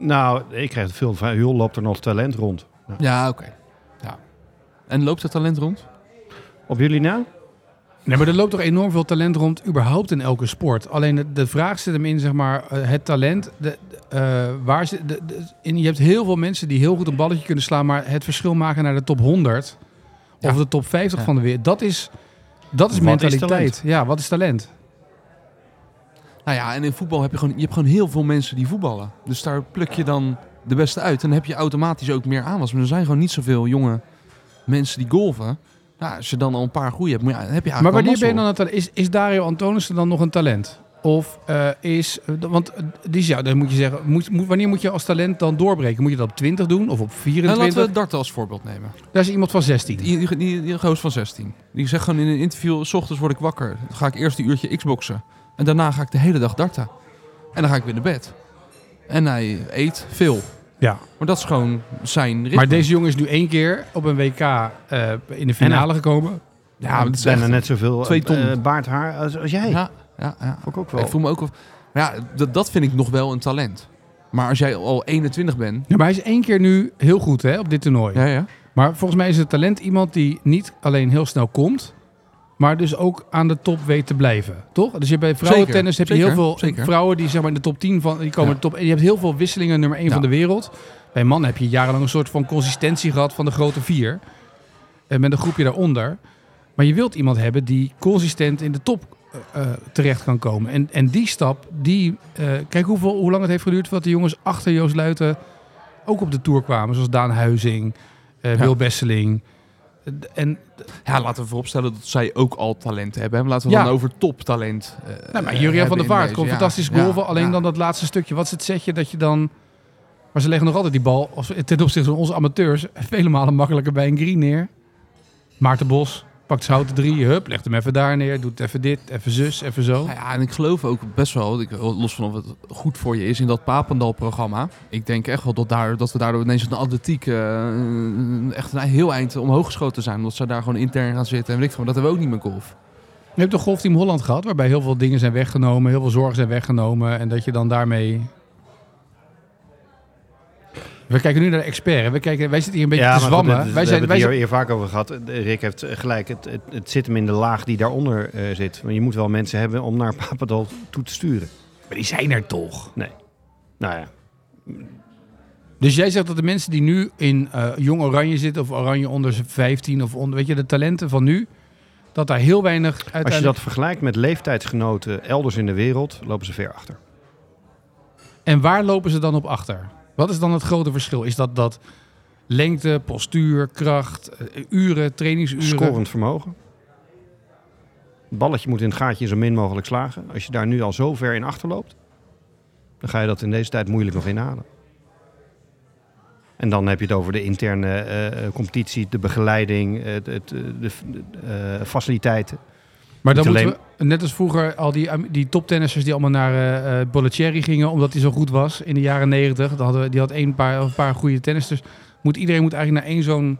Speaker 1: Nou, ik krijg het veel van, joh, loopt er nog talent rond?
Speaker 3: Ja, oké. Ja. En loopt het talent rond?
Speaker 1: Op jullie nou? na?
Speaker 2: Nee, maar er loopt toch enorm veel talent rond, überhaupt in elke sport. Alleen de, de vraag zit hem in, zeg maar, eh, het talent. De, de, eh, waar zit, de, de- en je hebt heel veel mensen die heel goed een balletje kunnen slaan, maar het verschil maken naar de top 100
Speaker 3: Ja.
Speaker 2: of de top 50
Speaker 3: Ja.
Speaker 2: van de wereld, dat is, dat is
Speaker 1: Wat is
Speaker 2: mentaliteit.
Speaker 1: talent?
Speaker 2: ja, wat is talent?
Speaker 3: Ah, Nou ja, en in voetbal heb je gewoon, je hebt gewoon heel veel mensen die voetballen. Dus daar pluk je dan de beste uit. En dan heb je automatisch ook meer aanwas. Maar er zijn gewoon niet zoveel jonge mensen die golven. Nou, als je dan al een paar goeie hebt, maar ja, dan heb je
Speaker 2: maar
Speaker 3: eigenlijk wel
Speaker 2: wanneer ben je dan
Speaker 3: mazzel.
Speaker 2: een talent? Is, is Dario Antonissen dan nog een talent? Of eh, is, eh, want eh, die is, ja, dan moet je zeggen, moet, moet, wanneer moet je als talent dan doorbreken? Moet je dat op 20 doen of op
Speaker 3: Nou,
Speaker 2: 24?
Speaker 3: laten we darten als voorbeeld nemen.
Speaker 2: Daar is iemand van 16.
Speaker 3: Die, die, die, die goos van 16. Die zegt gewoon in een interview, s ochtends word ik wakker. Dan ga ik eerst een uurtje xboxen. En daarna ga ik de hele dag darten. En dan ga ik weer naar bed. En hij eet veel.
Speaker 2: Ja.
Speaker 3: Maar dat is gewoon zijn ritme.
Speaker 2: Maar deze jongen is nu één keer op een WK eh, in de finale gekomen.
Speaker 3: Ja, maar het is
Speaker 1: bijna
Speaker 3: echt-
Speaker 1: net zoveel
Speaker 3: twee ton.
Speaker 1: eh, baard haar als, als jij.
Speaker 3: Ja, ja, ja.
Speaker 1: Vond ik ook
Speaker 3: Ik
Speaker 1: wel.
Speaker 3: voel me ook... Of, ja, dat, dat vind ik nog wel een talent. Maar als jij al 21 bent...
Speaker 2: Ja, maar hij is één keer nu heel goed hè, op dit toernooi.
Speaker 3: Ja, ja.
Speaker 2: Maar volgens mij is het talent iemand die niet alleen heel snel komt, maar dus ook aan de top weet te blijven. Toch? Dus je hebt bij vrouwentennis
Speaker 3: Zeker,
Speaker 2: heb je
Speaker 3: zeker,
Speaker 2: heel veel
Speaker 3: zeker.
Speaker 2: vrouwen die zeg maar, in de top 10 van die komen
Speaker 3: Ja.
Speaker 2: de top. En je hebt heel veel wisselingen nummer 1
Speaker 3: Ja.
Speaker 2: van de wereld. Bij mannen heb je jarenlang een soort van consistentie gehad van de grote eh, vier. En met een groepje daaronder. Maar je wilt iemand hebben die consistent in de top eh, terecht kan komen. En, en die stap, die, eh, kijk hoeveel, hoe lang het heeft geduurd voordat de jongens achter Joost Luiten ook op de Tour kwamen. Zoals Daan Huizing, eh,
Speaker 3: Ja.
Speaker 2: Wil Besseling. Eh, d- En
Speaker 3: Ja, laten we vooropstellen dat zij ook al talent hebben. hè. Laten we
Speaker 2: Ja.
Speaker 3: dan over toptalent. eh,
Speaker 2: Nou, maar
Speaker 3: eh,
Speaker 2: Jurian
Speaker 3: hebben
Speaker 2: van der
Speaker 3: in
Speaker 2: Vaart
Speaker 3: deze.
Speaker 2: kon
Speaker 3: Ja,
Speaker 2: fantastisch
Speaker 3: ja,
Speaker 2: golven. alleen
Speaker 3: ja.
Speaker 2: dan dat laatste stukje. Wat is het setje dat je dan... Maar ze leggen nog altijd die bal, of ten opzichte van onze amateurs, vele malen makkelijker bij een green neer. Maarten Bos pakt zout drie, hup, legt hem even daar neer. Doet even dit, even zus, even zo.
Speaker 3: Nou ja, en ik geloof ook best wel, ik- los van of het goed voor je is, in dat Papendal-programma. Ik denk echt wel dat, daar, dat we daardoor ineens in de atletiek eh, echt een heel eind omhoog geschoten zijn. Omdat ze daar gewoon intern gaan zitten. En weet ik van, dat hebben we ook niet met golf.
Speaker 2: Je hebt toch Golfteam Holland gehad, waarbij heel veel dingen zijn weggenomen. Heel veel zorgen zijn weggenomen. En dat je dan daarmee... We kijken nu naar de expert. hè. We kijken, wij zitten hier een beetje te
Speaker 1: maar goed,
Speaker 2: zwammen.
Speaker 1: dat- dat-
Speaker 2: wij
Speaker 1: we
Speaker 2: zijn,
Speaker 1: hebben
Speaker 2: wij
Speaker 1: het
Speaker 2: zijn,
Speaker 1: hier, hier vaak over gehad. Eh, Rick heeft eh, gelijk. Het, het, het zit hem in de laag die daaronder eh, zit. Want je moet wel mensen hebben om naar (laughs) Papendal toe te sturen.
Speaker 2: maar die zijn er toch.
Speaker 1: Nou ja,
Speaker 2: Dus jij zegt dat de mensen die nu in eh, jong Oranje zitten, of Oranje onder z'n 15, of onder, weet je, de talenten van nu, dat daar heel weinig uiteindelijk...
Speaker 1: als je dat vergelijkt met leeftijdsgenoten elders in de wereld, lopen ze ver achter.
Speaker 2: En waar lopen ze dan op achter? Wat is dan het grote verschil? Is dat dat lengte, postuur, kracht, eh, uren, trainingsuren?
Speaker 1: Scorend vermogen. Het balletje moet in het gaatje zo min mogelijk slagen. Als je daar nu al zo ver in achterloopt, dan ga je dat in deze tijd moeilijk nog inhalen. En dan heb je het over de interne eh, eh, competitie, de begeleiding, het, het, eh, de, eh, faciliteiten.
Speaker 2: Maar dan
Speaker 1: Niet
Speaker 2: moeten we, net als vroeger, al die, Am- die toptennissers die allemaal naar eh eh, Bollettieri gingen, omdat hij zo goed was in de jaren negentig. Dan hadden we- Die had één paar, een paar goede tennisters. Moet, iedereen moet eigenlijk naar één zo'n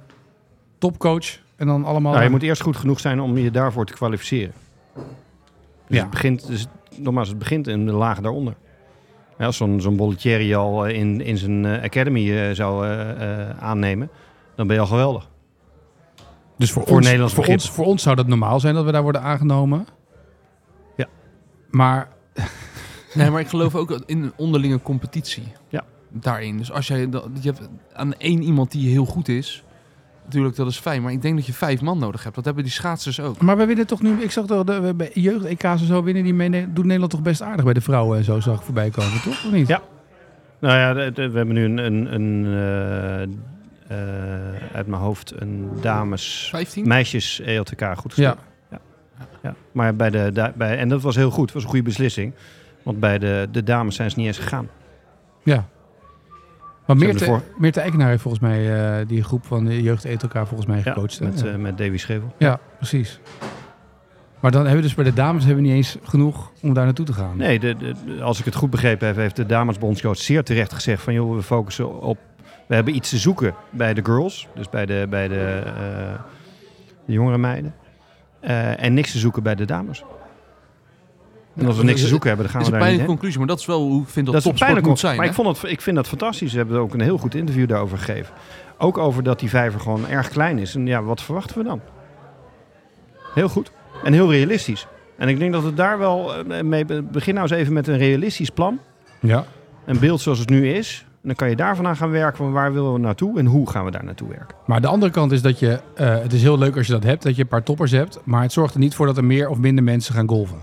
Speaker 2: topcoach en dan allemaal...
Speaker 1: Nou, je moet eerst goed genoeg zijn om je daarvoor te kwalificeren. Dus
Speaker 2: Ja.
Speaker 1: het begint, dus, nogmaals, het begint in de laag daaronder. Ja, als zo'n zo'n Bollettieri al eh, in, in zijn eh, academy eh, zou eh, eh, aannemen, dan ben je al geweldig.
Speaker 2: Dus voor,
Speaker 1: Voor
Speaker 2: ons,
Speaker 1: Nederlands
Speaker 2: voor
Speaker 1: begrip.
Speaker 2: ons, voor ons zou dat normaal zijn dat we daar worden aangenomen.
Speaker 1: Ja.
Speaker 2: Maar
Speaker 3: Nee, maar ik geloof ook in een onderlinge competitie.
Speaker 1: Ja.
Speaker 3: Daarin. Dus als jij, dat- je hebt aan één iemand die heel goed is, natuurlijk dat is fijn. Maar ik denk dat je vijf man nodig hebt. Dat hebben die schaatsers ook.
Speaker 2: Maar we winnen toch nu, ik zag dat de- bij jeugd-EK's en zo winnen die mee, doet Nederland toch best aardig bij de vrouwen en zo, zag ik voorbij komen, toch? Of niet?
Speaker 1: Ja. Nou ja, de- de- we hebben nu een, een, een eh, eh, uit mijn hoofd, een dames,
Speaker 3: Vijftien?
Speaker 1: meisjes E ELTK goed
Speaker 2: Ja.
Speaker 1: gesteld. Ja, maar bij de, da- bij, en dat was heel goed, was een goede beslissing. Want bij de, de dames zijn ze niet eens gegaan.
Speaker 2: ja. Maar
Speaker 1: Ze
Speaker 2: Meerte,
Speaker 1: hebben
Speaker 2: Meerte Eikenaar heeft volgens mij eh, die groep van de jeugd ETK volgens mij
Speaker 1: Ja,
Speaker 2: gecoacht. hè?
Speaker 1: met,
Speaker 2: ja.
Speaker 1: eh, met Davy Schevel.
Speaker 2: Ja, precies. Maar dan hebben we dus bij de dames hebben we niet eens genoeg om daar naartoe te gaan.
Speaker 1: Nee, de, de- de- als ik het goed begrepen heb, heeft de damesbondscoach zeer terecht gezegd van joh, we focussen op, we hebben iets te zoeken bij de girls, dus bij de, bij de, eh, de jongere meiden. Eh, en niks te zoeken bij de dames. En als we niks te zoeken hebben, dan gaan
Speaker 3: Dat is
Speaker 1: we
Speaker 3: een
Speaker 1: daar niet
Speaker 3: pijnlijke
Speaker 1: heen.
Speaker 3: conclusie, maar dat is wel hoe ik vind dat,
Speaker 1: Dat is een
Speaker 3: topsport
Speaker 1: pijnlijke
Speaker 3: moet
Speaker 1: conclusie.
Speaker 3: zijn.
Speaker 1: Maar
Speaker 3: hè?
Speaker 1: ik, vond het, ik vind dat fantastisch. Ze hebben er ook een heel goed interview daarover gegeven. Ook over dat die vijver gewoon erg klein is. En ja, wat verwachten we dan? Heel goed. En heel realistisch. En ik denk dat het daar wel eh, mee... Begin nou eens even met een realistisch plan.
Speaker 2: Ja.
Speaker 1: Een beeld zoals het nu is. En dan kan je daarvan aan gaan werken. Van waar willen we naartoe en hoe gaan we daar naartoe werken?
Speaker 2: Maar de andere kant is dat je, eh, het is heel leuk als je dat hebt, dat je een paar toppers hebt, maar het zorgt er niet voor dat er meer of minder mensen gaan golven.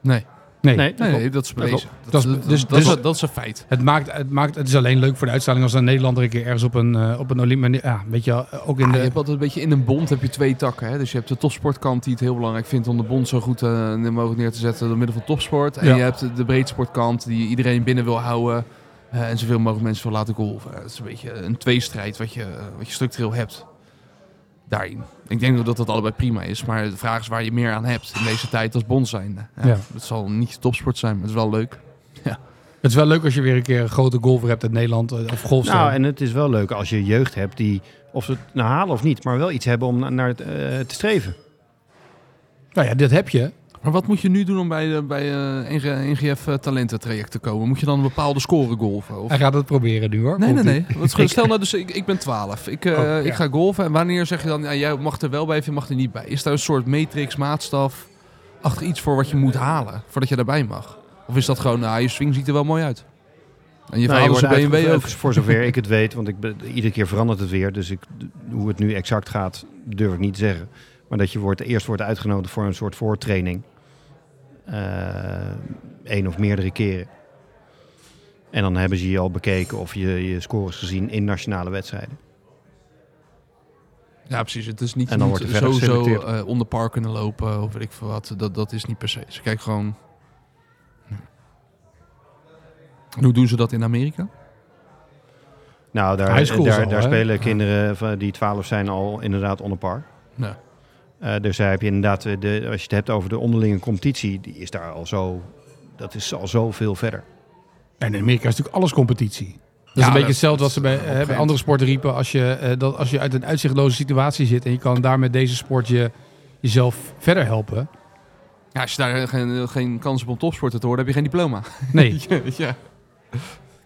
Speaker 3: Nee.
Speaker 2: Nee.
Speaker 3: Nee, nee, dat is bewezen.
Speaker 2: Dat is- dus-
Speaker 3: dat,
Speaker 2: dus-
Speaker 3: is, dat is een feit.
Speaker 2: Het, maakt, het, maakt, het is alleen leuk voor de uitstraling als een Nederlander een keer ergens op een, eh, op een Olympische... Ja, weet je, wel, eh, ook in
Speaker 3: Ah,
Speaker 2: de...
Speaker 3: je hebt altijd een beetje in een bond heb je twee takken. Hè? Dus je hebt de topsportkant die het heel belangrijk vindt om de bond zo goed eh, mogelijk neer te zetten door middel van topsport. En
Speaker 2: Ja.
Speaker 3: je hebt de breedsportkant die iedereen binnen wil houden eh, en zoveel mogelijk mensen wil laten golven. Het is een beetje een tweestrijd wat je, eh, wat je structureel hebt daarin. Ik denk dat dat allebei prima is, maar de vraag is waar je meer aan hebt in deze tijd als bond zijnde. Ja,
Speaker 2: Ja.
Speaker 3: Het zal niet topsport zijn, maar het is wel leuk.
Speaker 2: Het is wel leuk als je weer een keer een grote golfer hebt uit Nederland eh, of golfster.
Speaker 1: Nou, en het is wel leuk als je jeugd hebt die... Of ze het nou halen of niet, maar wel iets hebben om na- naar het, eh, te streven.
Speaker 2: nou ja, dit heb je.
Speaker 3: Maar wat moet je nu doen om bij, de- bij eh, NG- NGF eh, talententraject te komen? Moet je dan een bepaalde score golven? Of?
Speaker 2: Hij gaat het proberen nu hoor.
Speaker 3: Nee, nee,
Speaker 2: Komt-ie.
Speaker 3: nee. Want stel- stel nou, dus ik, ik ben 12. Ik, eh,
Speaker 2: Oh, ja.
Speaker 3: ik ga golven. En wanneer zeg je dan, ja, jij mag er wel bij of je mag er niet bij? Is daar een soort matrix, maatstaf, achter iets voor wat je moet halen voordat je daarbij mag? Of is dat gewoon, nou, je swing ziet er wel mooi uit? En je
Speaker 1: Nou,
Speaker 3: vader is
Speaker 1: wordt
Speaker 3: een BMW
Speaker 1: uitge-
Speaker 3: ook.
Speaker 1: (laughs) Voor zover ik het weet, want ik ben, iedere keer verandert het weer. Dus ik, d- hoe het nu exact gaat, durf ik niet te zeggen. Maar dat je wordt, eerst wordt uitgenodigd voor een soort voortraining. Eén of meerdere keren. En dan hebben ze je al bekeken of je je scores gezien in nationale wedstrijden.
Speaker 3: Ja, precies. Het is niet
Speaker 1: En dan
Speaker 3: je
Speaker 1: wordt
Speaker 3: moet
Speaker 1: er verder
Speaker 3: sowieso
Speaker 1: geselecteerd.
Speaker 3: eh, onder par kunnen lopen of weet ik veel wat. Dat, dat is niet per se. Ze kijken gewoon... En Hoe doen ze dat in Amerika?
Speaker 1: Nou, daar,
Speaker 2: High school
Speaker 1: daar,
Speaker 2: is al,
Speaker 1: daar
Speaker 2: hè?
Speaker 1: spelen kinderen van die 12 zijn al inderdaad onder par.
Speaker 3: Ja.
Speaker 1: Eh, dus daar heb je inderdaad, eh, de, als je het hebt over de onderlinge competitie, die is daar al zo, dat is al zo veel verder.
Speaker 2: En in Amerika is natuurlijk alles competitie. Dat is
Speaker 3: Ja,
Speaker 2: een beetje
Speaker 3: dat-
Speaker 2: hetzelfde wat
Speaker 3: dat
Speaker 2: ze bij,
Speaker 3: is
Speaker 2: eh, bij
Speaker 3: opgeënt.
Speaker 2: andere sporten riepen. Als je, eh, dat, als je uit een uitzichtloze situatie zit en je kan daar met deze sport je, jezelf verder helpen.
Speaker 3: Ja, als je daar geen, geen kans hebt om topsporter te worden, heb je geen diploma.
Speaker 2: (laughs) Nee,
Speaker 3: (laughs) ja.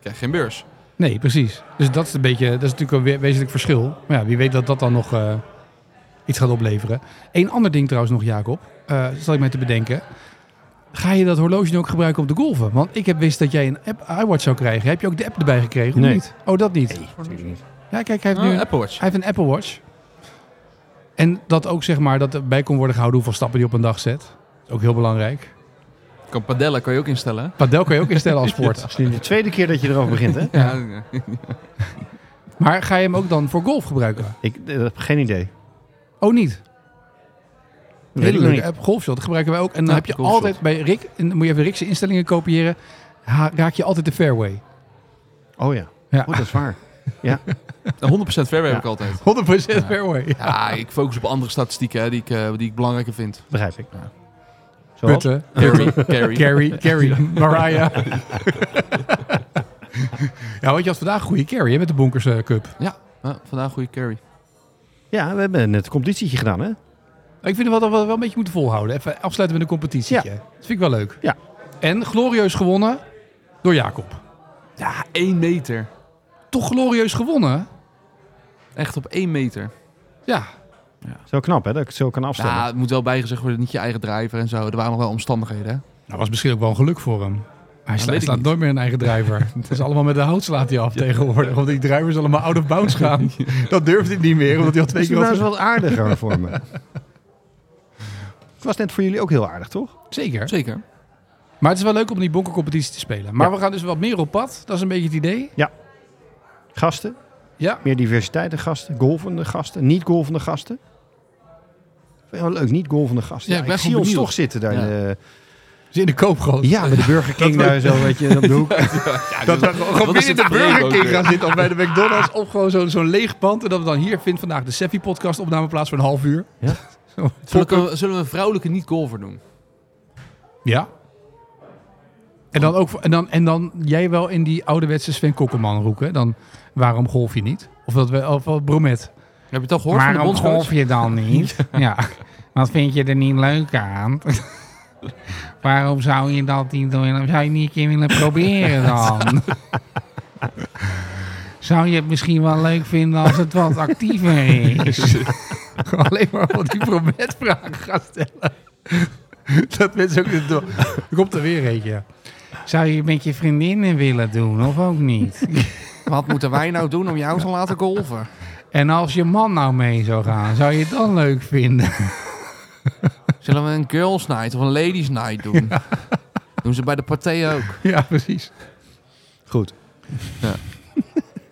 Speaker 3: Krijg geen beurs.
Speaker 2: nee precies. Dus dat is, een beetje, dat is natuurlijk een we- wezenlijk verschil. Maar ja, wie weet dat dat dan nog eh, iets gaat opleveren. Eén ander ding trouwens nog, Jacob. eh zal ik mij te bedenken. Ga je dat horloge nu ook gebruiken om te golven? Want ik heb wist dat jij een app iWatch zou krijgen. Heb je ook de app erbij gekregen? Of
Speaker 1: Nee.
Speaker 2: niet? Oh, dat niet. Ja, kijk, hij heeft nu
Speaker 3: Ah,
Speaker 2: een
Speaker 3: Apple Watch.
Speaker 2: Hij heeft een Apple Watch. En dat ook zeg maar, dat erbij kon worden gehouden hoeveel stappen die op een dag zet. Ook heel belangrijk.
Speaker 3: Kan padellen kan je ook instellen. hè?
Speaker 2: Padel kan je ook instellen als sport.
Speaker 1: Het is nu de tweede keer dat je erover begint, hè?
Speaker 2: Ja.
Speaker 3: Ja.
Speaker 2: Maar ga je hem ook dan voor golf gebruiken?
Speaker 1: Ik eh, heb geen idee.
Speaker 2: Oh niet.
Speaker 1: Weet ik
Speaker 2: Hele
Speaker 1: nog
Speaker 2: leuke
Speaker 1: niet.
Speaker 2: app, Golfshot, dat gebruiken wij ook. En dan
Speaker 3: Ja,
Speaker 2: heb je
Speaker 3: Golfshot.
Speaker 2: altijd bij Rick, en dan moet je even Rick's instellingen kopiëren, ha- raak je altijd de fairway.
Speaker 1: Oh ja,
Speaker 2: Ja, 100%
Speaker 1: oh, dat is waar.
Speaker 3: 100% fairway heb ik
Speaker 1: Ja.
Speaker 3: altijd.
Speaker 2: fairway. Ja.
Speaker 3: Ja, ik focus op andere statistieken hè, die, ik, eh, die ik belangrijker
Speaker 2: (laughs)
Speaker 3: vind.
Speaker 1: Begrijp ik.
Speaker 3: Ja. eh,
Speaker 1: Zoals?
Speaker 2: Putten,
Speaker 3: Carry, carry.
Speaker 2: Carrie, Carrie, Mariah. ja, want je had vandaag een goede carry hè, met de Bonkers eh, Cup.
Speaker 3: Ja, vandaag goede carry.
Speaker 1: Ja, we hebben net een competitietje gedaan, hè?
Speaker 2: Ik vind wel dat we wel een beetje moeten volhouden. Even afsluiten met een competitietje. Dat vind ik wel leuk.
Speaker 1: Ja.
Speaker 2: En glorieus gewonnen door Jacob.
Speaker 3: Ja, 1 meter.
Speaker 2: Toch glorieus gewonnen?
Speaker 3: Echt op 1 meter.
Speaker 2: Ja.
Speaker 1: Zo knap, hè? Dat ik het zo kan afstellen.
Speaker 3: Ja, het moet wel bijgezegd worden, niet je eigen driver en zo. Er waren nog wel omstandigheden. Hè?
Speaker 2: Dat Nou, was misschien ook wel een geluk voor hem. Hij
Speaker 3: weet
Speaker 2: slaat,
Speaker 3: ik
Speaker 2: slaat
Speaker 3: niet.
Speaker 2: nooit meer een eigen driver. (laughs) Het is allemaal met de hout slaat hij af tegenwoordig. Want die drivers allemaal out of bounds (laughs) gaan. Dat durft hij niet meer, omdat hij al twee
Speaker 1: is
Speaker 2: keer...
Speaker 1: nou eens
Speaker 2: had-
Speaker 1: wat
Speaker 3: (laughs)
Speaker 1: aardiger voor me. Het was net voor jullie ook heel aardig, toch?
Speaker 2: Zeker.
Speaker 3: Zeker.
Speaker 2: Maar het is wel leuk om die bonkencompetitie te spelen. Maar we gaan dus wat meer op pad. Dat is een beetje het idee.
Speaker 1: Gasten,
Speaker 2: Ja.
Speaker 1: meer diversiteit de gasten, golvende gasten, niet-golvende gasten. Vind je wel leuk, niet-golvende gasten.
Speaker 3: Ja,
Speaker 1: Ja,
Speaker 3: ik
Speaker 1: ik
Speaker 3: ben
Speaker 1: zie
Speaker 3: gewoon
Speaker 1: ons
Speaker 3: benieuwd.
Speaker 1: toch zitten daar.
Speaker 3: Ja.
Speaker 1: in de-
Speaker 2: Dus in de koopgoot.
Speaker 1: Ja, bij de Burger King
Speaker 2: Dat
Speaker 1: daar zo, weet je, op de
Speaker 3: (laughs)
Speaker 1: hoek.
Speaker 2: Dat we gewoon
Speaker 3: Wat is
Speaker 2: binnen de Burger
Speaker 3: het probleem ook
Speaker 2: King
Speaker 3: weer?
Speaker 2: gaan zitten of bij de McDonald's of gewoon zo'n zo'n leeg pand. En dat we dan hier vindt vandaag de Seffi podcast opname plaats voor een half uur.
Speaker 1: Ja.
Speaker 2: Zo,
Speaker 3: Zullen
Speaker 2: fokken.
Speaker 3: we, zullen we een vrouwelijke niet-golfer doen?
Speaker 2: ja. En dan, ook, voor- en, dan, en dan jij wel in die ouderwetse Sven Kokkelman roek, hè? Dan waarom golf je niet? Of dat we of, wel bromet.
Speaker 3: Heb je het al gehoord van de bondscoach?
Speaker 2: je (laughs) dan niet? ja. Wat vind je er niet leuk aan? (laughs) waarom zou je dat niet doen? Waarom zou je niet een keer willen proberen (laughs) dan? zou je het misschien wel leuk vinden als het wat actiever is? (laughs) Alleen maar wat die prometvragen gaat stellen. dat mensen ook... Er komt er weer eentje. Zou je het met je vriendinnen willen doen of ook niet?
Speaker 3: Wat moeten wij nou doen om jou te laten golven?
Speaker 2: En als je man nou mee zou gaan, zou je het dan leuk vinden?
Speaker 3: Zullen we een girls night of een ladies night doen? (laughs) Doen ze bij de partij ook.
Speaker 2: Ja, precies.
Speaker 1: Goed.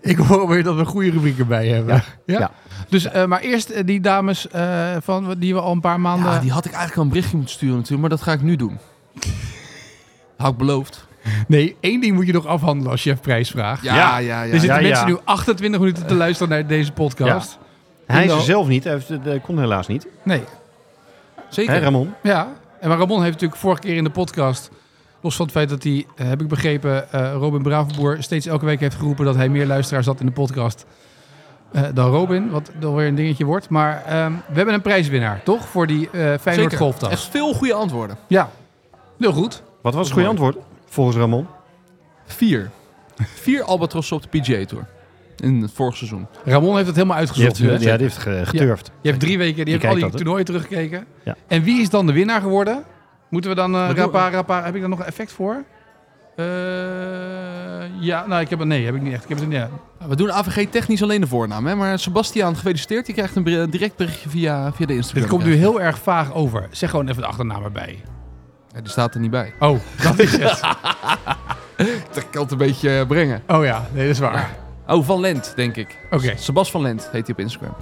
Speaker 2: Ik hoor weer dat we goede rubrieken bij hebben. Ja.
Speaker 1: Ja.
Speaker 2: Dus, eh, maar eerst eh, die dames eh, van, die we al een paar maanden...
Speaker 3: Ja, die had ik eigenlijk al een berichtje moeten sturen natuurlijk, maar dat ga ik nu doen. Had ik beloofd.
Speaker 2: Nee, één ding moet je nog afhandelen als chef prijsvraag.
Speaker 3: Ja,
Speaker 1: Ja.
Speaker 3: ja, ja.
Speaker 2: Er zitten
Speaker 1: Ja, ja.
Speaker 2: mensen nu 28 minuten te luisteren naar deze podcast.
Speaker 1: Hij is er
Speaker 2: Nou.
Speaker 1: zelf niet, hij heeft- dat kon helaas niet.
Speaker 2: Nee,
Speaker 3: Zeker.
Speaker 1: Hè, Ramon?
Speaker 2: ja. En maar Ramon heeft natuurlijk vorige keer in de podcast... Los van het feit dat hij, eh, heb ik begrepen, eh, Robin Bravenboer steeds elke week heeft geroepen dat hij meer luisteraars had in de podcast eh, dan Robin. Wat dan weer een dingetje wordt. Maar ehm, we hebben een prijswinnaar, toch? Voor die eh Feyenoord
Speaker 3: Zeker.
Speaker 2: golftas.
Speaker 3: Echt veel goede antwoorden.
Speaker 2: Ja, heel goed.
Speaker 1: Wat was het goede antwoord? Volgens Ramon.
Speaker 3: Vier. Vier albatrossen op de PGA Tour. In het vorig seizoen.
Speaker 2: Ramon heeft het helemaal
Speaker 1: Die
Speaker 2: uitgezocht.
Speaker 1: heeft,
Speaker 2: nu, hè?
Speaker 1: ja, die heeft ge- geturfd.
Speaker 2: Je hebt drie weken, die heeft al
Speaker 1: kijkt
Speaker 2: die
Speaker 1: dat, hè?
Speaker 2: toernooien teruggekeken.
Speaker 1: Ja.
Speaker 2: En wie is dan de winnaar geworden? Moeten we dan eh
Speaker 3: Wat doen
Speaker 2: rapa,
Speaker 3: we?
Speaker 2: rapa, heb ik daar nog een effect voor? Eh, ja, nou, ik heb het. Nee, heb ik niet echt. Ik heb het, ja.
Speaker 3: We doen AVG technisch alleen de voornaam, hè? maar Sebastiaan, gefeliciteerd. Je krijgt een ber- direct berichtje via, via de Instagram.
Speaker 2: Dit komt nu heel erg vaag over. Zeg gewoon even de achternaam erbij.
Speaker 3: Ja, die staat er niet bij.
Speaker 2: Oh, dat is het.
Speaker 3: Dat kan het een beetje eh, brengen.
Speaker 2: (laughs) Oh ja, nee, dat is waar.
Speaker 3: Oh, Van Lent, denk ik.
Speaker 2: Oké.
Speaker 3: Sebas van Lent heet hij op Instagram.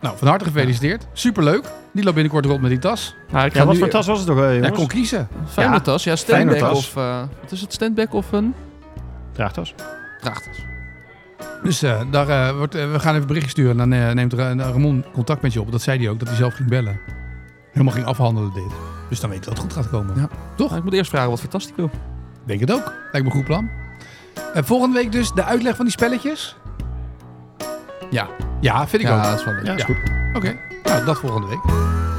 Speaker 2: Nou, van harte gefeliciteerd. Superleuk. Die loopt binnenkort rond met die tas.
Speaker 1: Ja, wat voor tas was het ook, eh,
Speaker 2: Hij
Speaker 1: jongens?
Speaker 2: kon kiezen.
Speaker 3: Fijne
Speaker 1: Ja,
Speaker 3: tas, ja,
Speaker 1: fijne
Speaker 3: standback
Speaker 1: tas.
Speaker 3: of... eh, wat is het, standback of een...
Speaker 1: Draagtas.
Speaker 3: Draagtas.
Speaker 2: Dus eh, daar, eh, wordt, eh, we gaan even berichtje sturen. En dan eh, neemt Ra- Ramon contact met je op. Dat zei hij ook, dat hij zelf ging bellen. Helemaal ging afhandelen dit. Dus dan weet je dat het goed gaat komen.
Speaker 3: Ja. Maar ik moet eerst vragen wat voor tas die wil.
Speaker 2: Denk het ook. Lijkt me een goed plan. Eh, volgende week dus de uitleg van die spelletjes.
Speaker 3: Ja.
Speaker 2: Ja, vind ik
Speaker 3: ja,
Speaker 2: ook.
Speaker 3: dat is wel leuk.
Speaker 1: Ja, is
Speaker 2: Ja.
Speaker 1: goed.
Speaker 2: Oké, nou dat volgende week.